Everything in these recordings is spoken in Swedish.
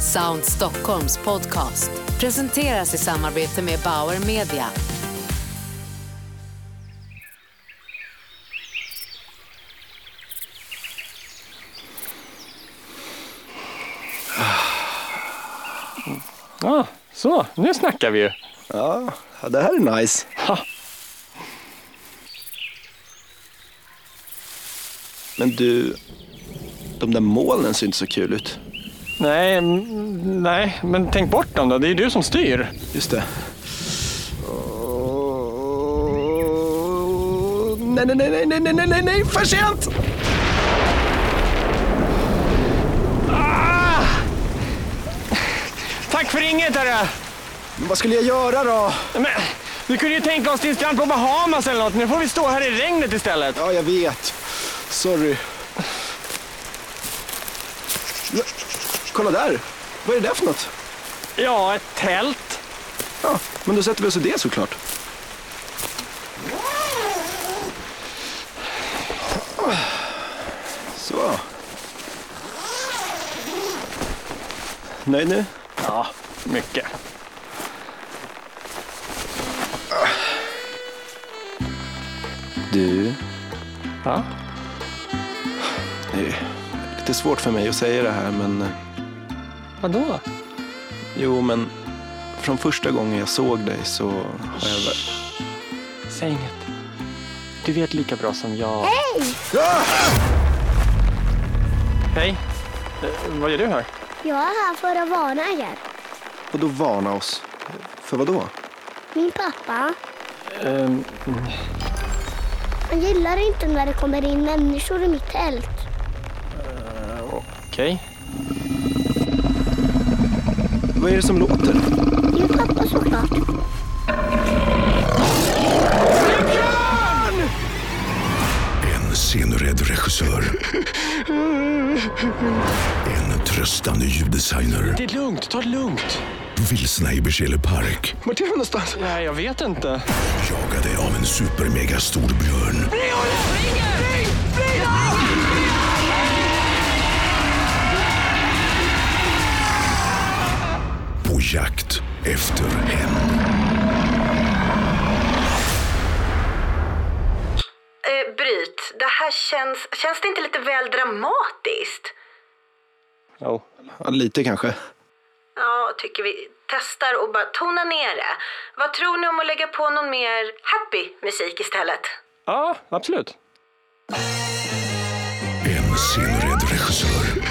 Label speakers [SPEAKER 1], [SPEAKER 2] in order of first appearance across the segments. [SPEAKER 1] Sound Stockholms podcast presenteras i samarbete med Bauer Media.
[SPEAKER 2] Ja, så. Nu snackar vi ju.
[SPEAKER 3] Ja, ja, det här är nice.
[SPEAKER 2] Ha.
[SPEAKER 3] Men du, de där molnen ser inte så kul ut.
[SPEAKER 2] Nej, mm, nej, men tänk bort dem då. Det är ju du som styr.
[SPEAKER 3] Just det. Nej, nej, nej, nej, nej, nej, nej, nej, nej, för sent!
[SPEAKER 2] Tack för inget, hörru!
[SPEAKER 3] Men vad skulle jag göra då?
[SPEAKER 2] Men, vi kunde ju tänka oss till en strand på Bahamas eller något. Nu får vi stå här i regnet istället.
[SPEAKER 3] Ja, jag vet. Sorry. Ja, kolla där! Vad är det där för något?
[SPEAKER 2] Ja, ett tält.
[SPEAKER 3] Ja, men då sätter vi oss i det såklart. Så. Nöjd nu?
[SPEAKER 2] Ja, mycket.
[SPEAKER 3] Du,
[SPEAKER 2] Ja.
[SPEAKER 3] det är lite svårt för mig att säga det här men... eh,
[SPEAKER 2] Vadå?
[SPEAKER 3] Jo, men från första gången jag såg dig så har jag... ver-
[SPEAKER 2] Säg inget. Du vet lika bra som jag. Hej! Eh, vad gör du här?
[SPEAKER 4] Jag är här för att varna er.
[SPEAKER 3] Och då varna oss. För vad då?
[SPEAKER 4] Min pappa,
[SPEAKER 2] Ehm,
[SPEAKER 4] han gillar inte när det kommer in människor i mitt tält.
[SPEAKER 2] Okej.
[SPEAKER 3] Vad är det som låter?
[SPEAKER 4] Det är ju pappa såklart.
[SPEAKER 5] En scenrädd regissör. En tröstande ljuddesigner.
[SPEAKER 2] Det är lugnt. Ta det lugnt.
[SPEAKER 5] Vilsna i Berzelii park.
[SPEAKER 3] Vart är vi någonstans?
[SPEAKER 2] Nej, jag vet inte.
[SPEAKER 5] Jagade av en supermega stor björn. På jakt efter hämnd.
[SPEAKER 6] Eh, bryt, det här känns... Känns det inte lite väl dramatiskt?
[SPEAKER 2] Jo.
[SPEAKER 3] Ja, lite kanske.
[SPEAKER 6] Ja, tycker vi testar och bara tona ner det. Vad tror ni om att lägga på någon mer happy musik istället?
[SPEAKER 2] Ja, absolut.
[SPEAKER 5] En scenrädd regissör.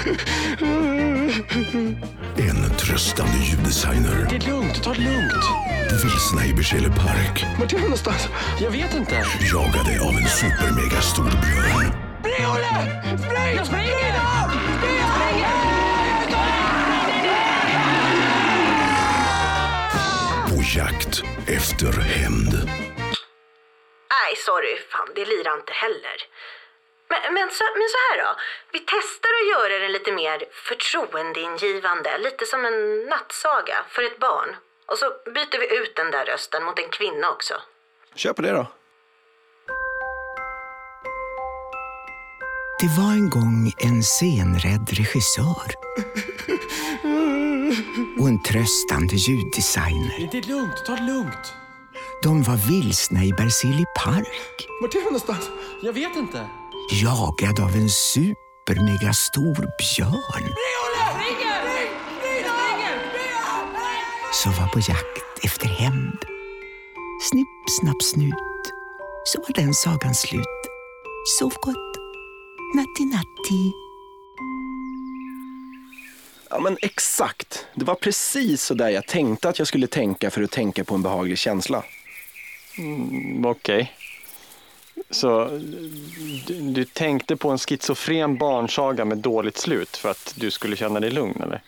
[SPEAKER 5] En tröstande ljuddesigner.
[SPEAKER 2] Det är lugnt. Ta det lugnt.
[SPEAKER 5] Vilsna i Berzelii park.
[SPEAKER 2] Vart är vi någonstans? Jag vet inte.
[SPEAKER 5] Jagade av en supermega stor björn. På jakt efter hämnd.
[SPEAKER 6] Nej, sorry. Fan, det lirar inte heller. Men, men, så, men så här då. Vi testar att göra den lite mer förtroendeingivande. Lite som en nattsaga för ett barn. Och så byter vi ut den där rösten mot en kvinna också.
[SPEAKER 3] Kör på det då.
[SPEAKER 7] Det var en gång en scenrädd regissör. Och en tröstande ljuddesigner.
[SPEAKER 2] Det är lugnt. Ta det lugnt.
[SPEAKER 7] De var vilsna i Berzelii park.
[SPEAKER 2] Vart är vi någonstans? Jag vet inte.
[SPEAKER 7] Jagad av en supermegastor björn. Som var på jakt efter hämnd. Snipp, snapp, snut. Så var den sagan slut. Sov gott. Natti, natti.
[SPEAKER 3] Ja, men exakt. Det var precis så där jag tänkte att jag skulle tänka för att tänka på en behaglig känsla.
[SPEAKER 2] Okej. Så du, du tänkte på en schizofren barnsaga med dåligt slut för att du skulle känna dig lugn, eller?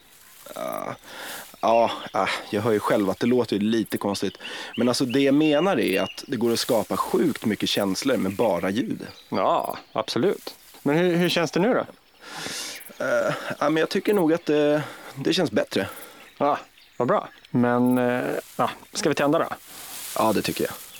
[SPEAKER 3] Ja, ah, jag hör ju själv att det låter ju lite konstigt. Men alltså det jag menar är att det går att skapa sjukt mycket känslor med bara ljud.
[SPEAKER 2] Ja, absolut. Men hur, hur känns det nu då?
[SPEAKER 3] Ja, men jag tycker nog att det, det känns bättre.
[SPEAKER 2] Ja, vad bra. Men, eh, ja, ska vi tända då?
[SPEAKER 3] Ja, det tycker jag.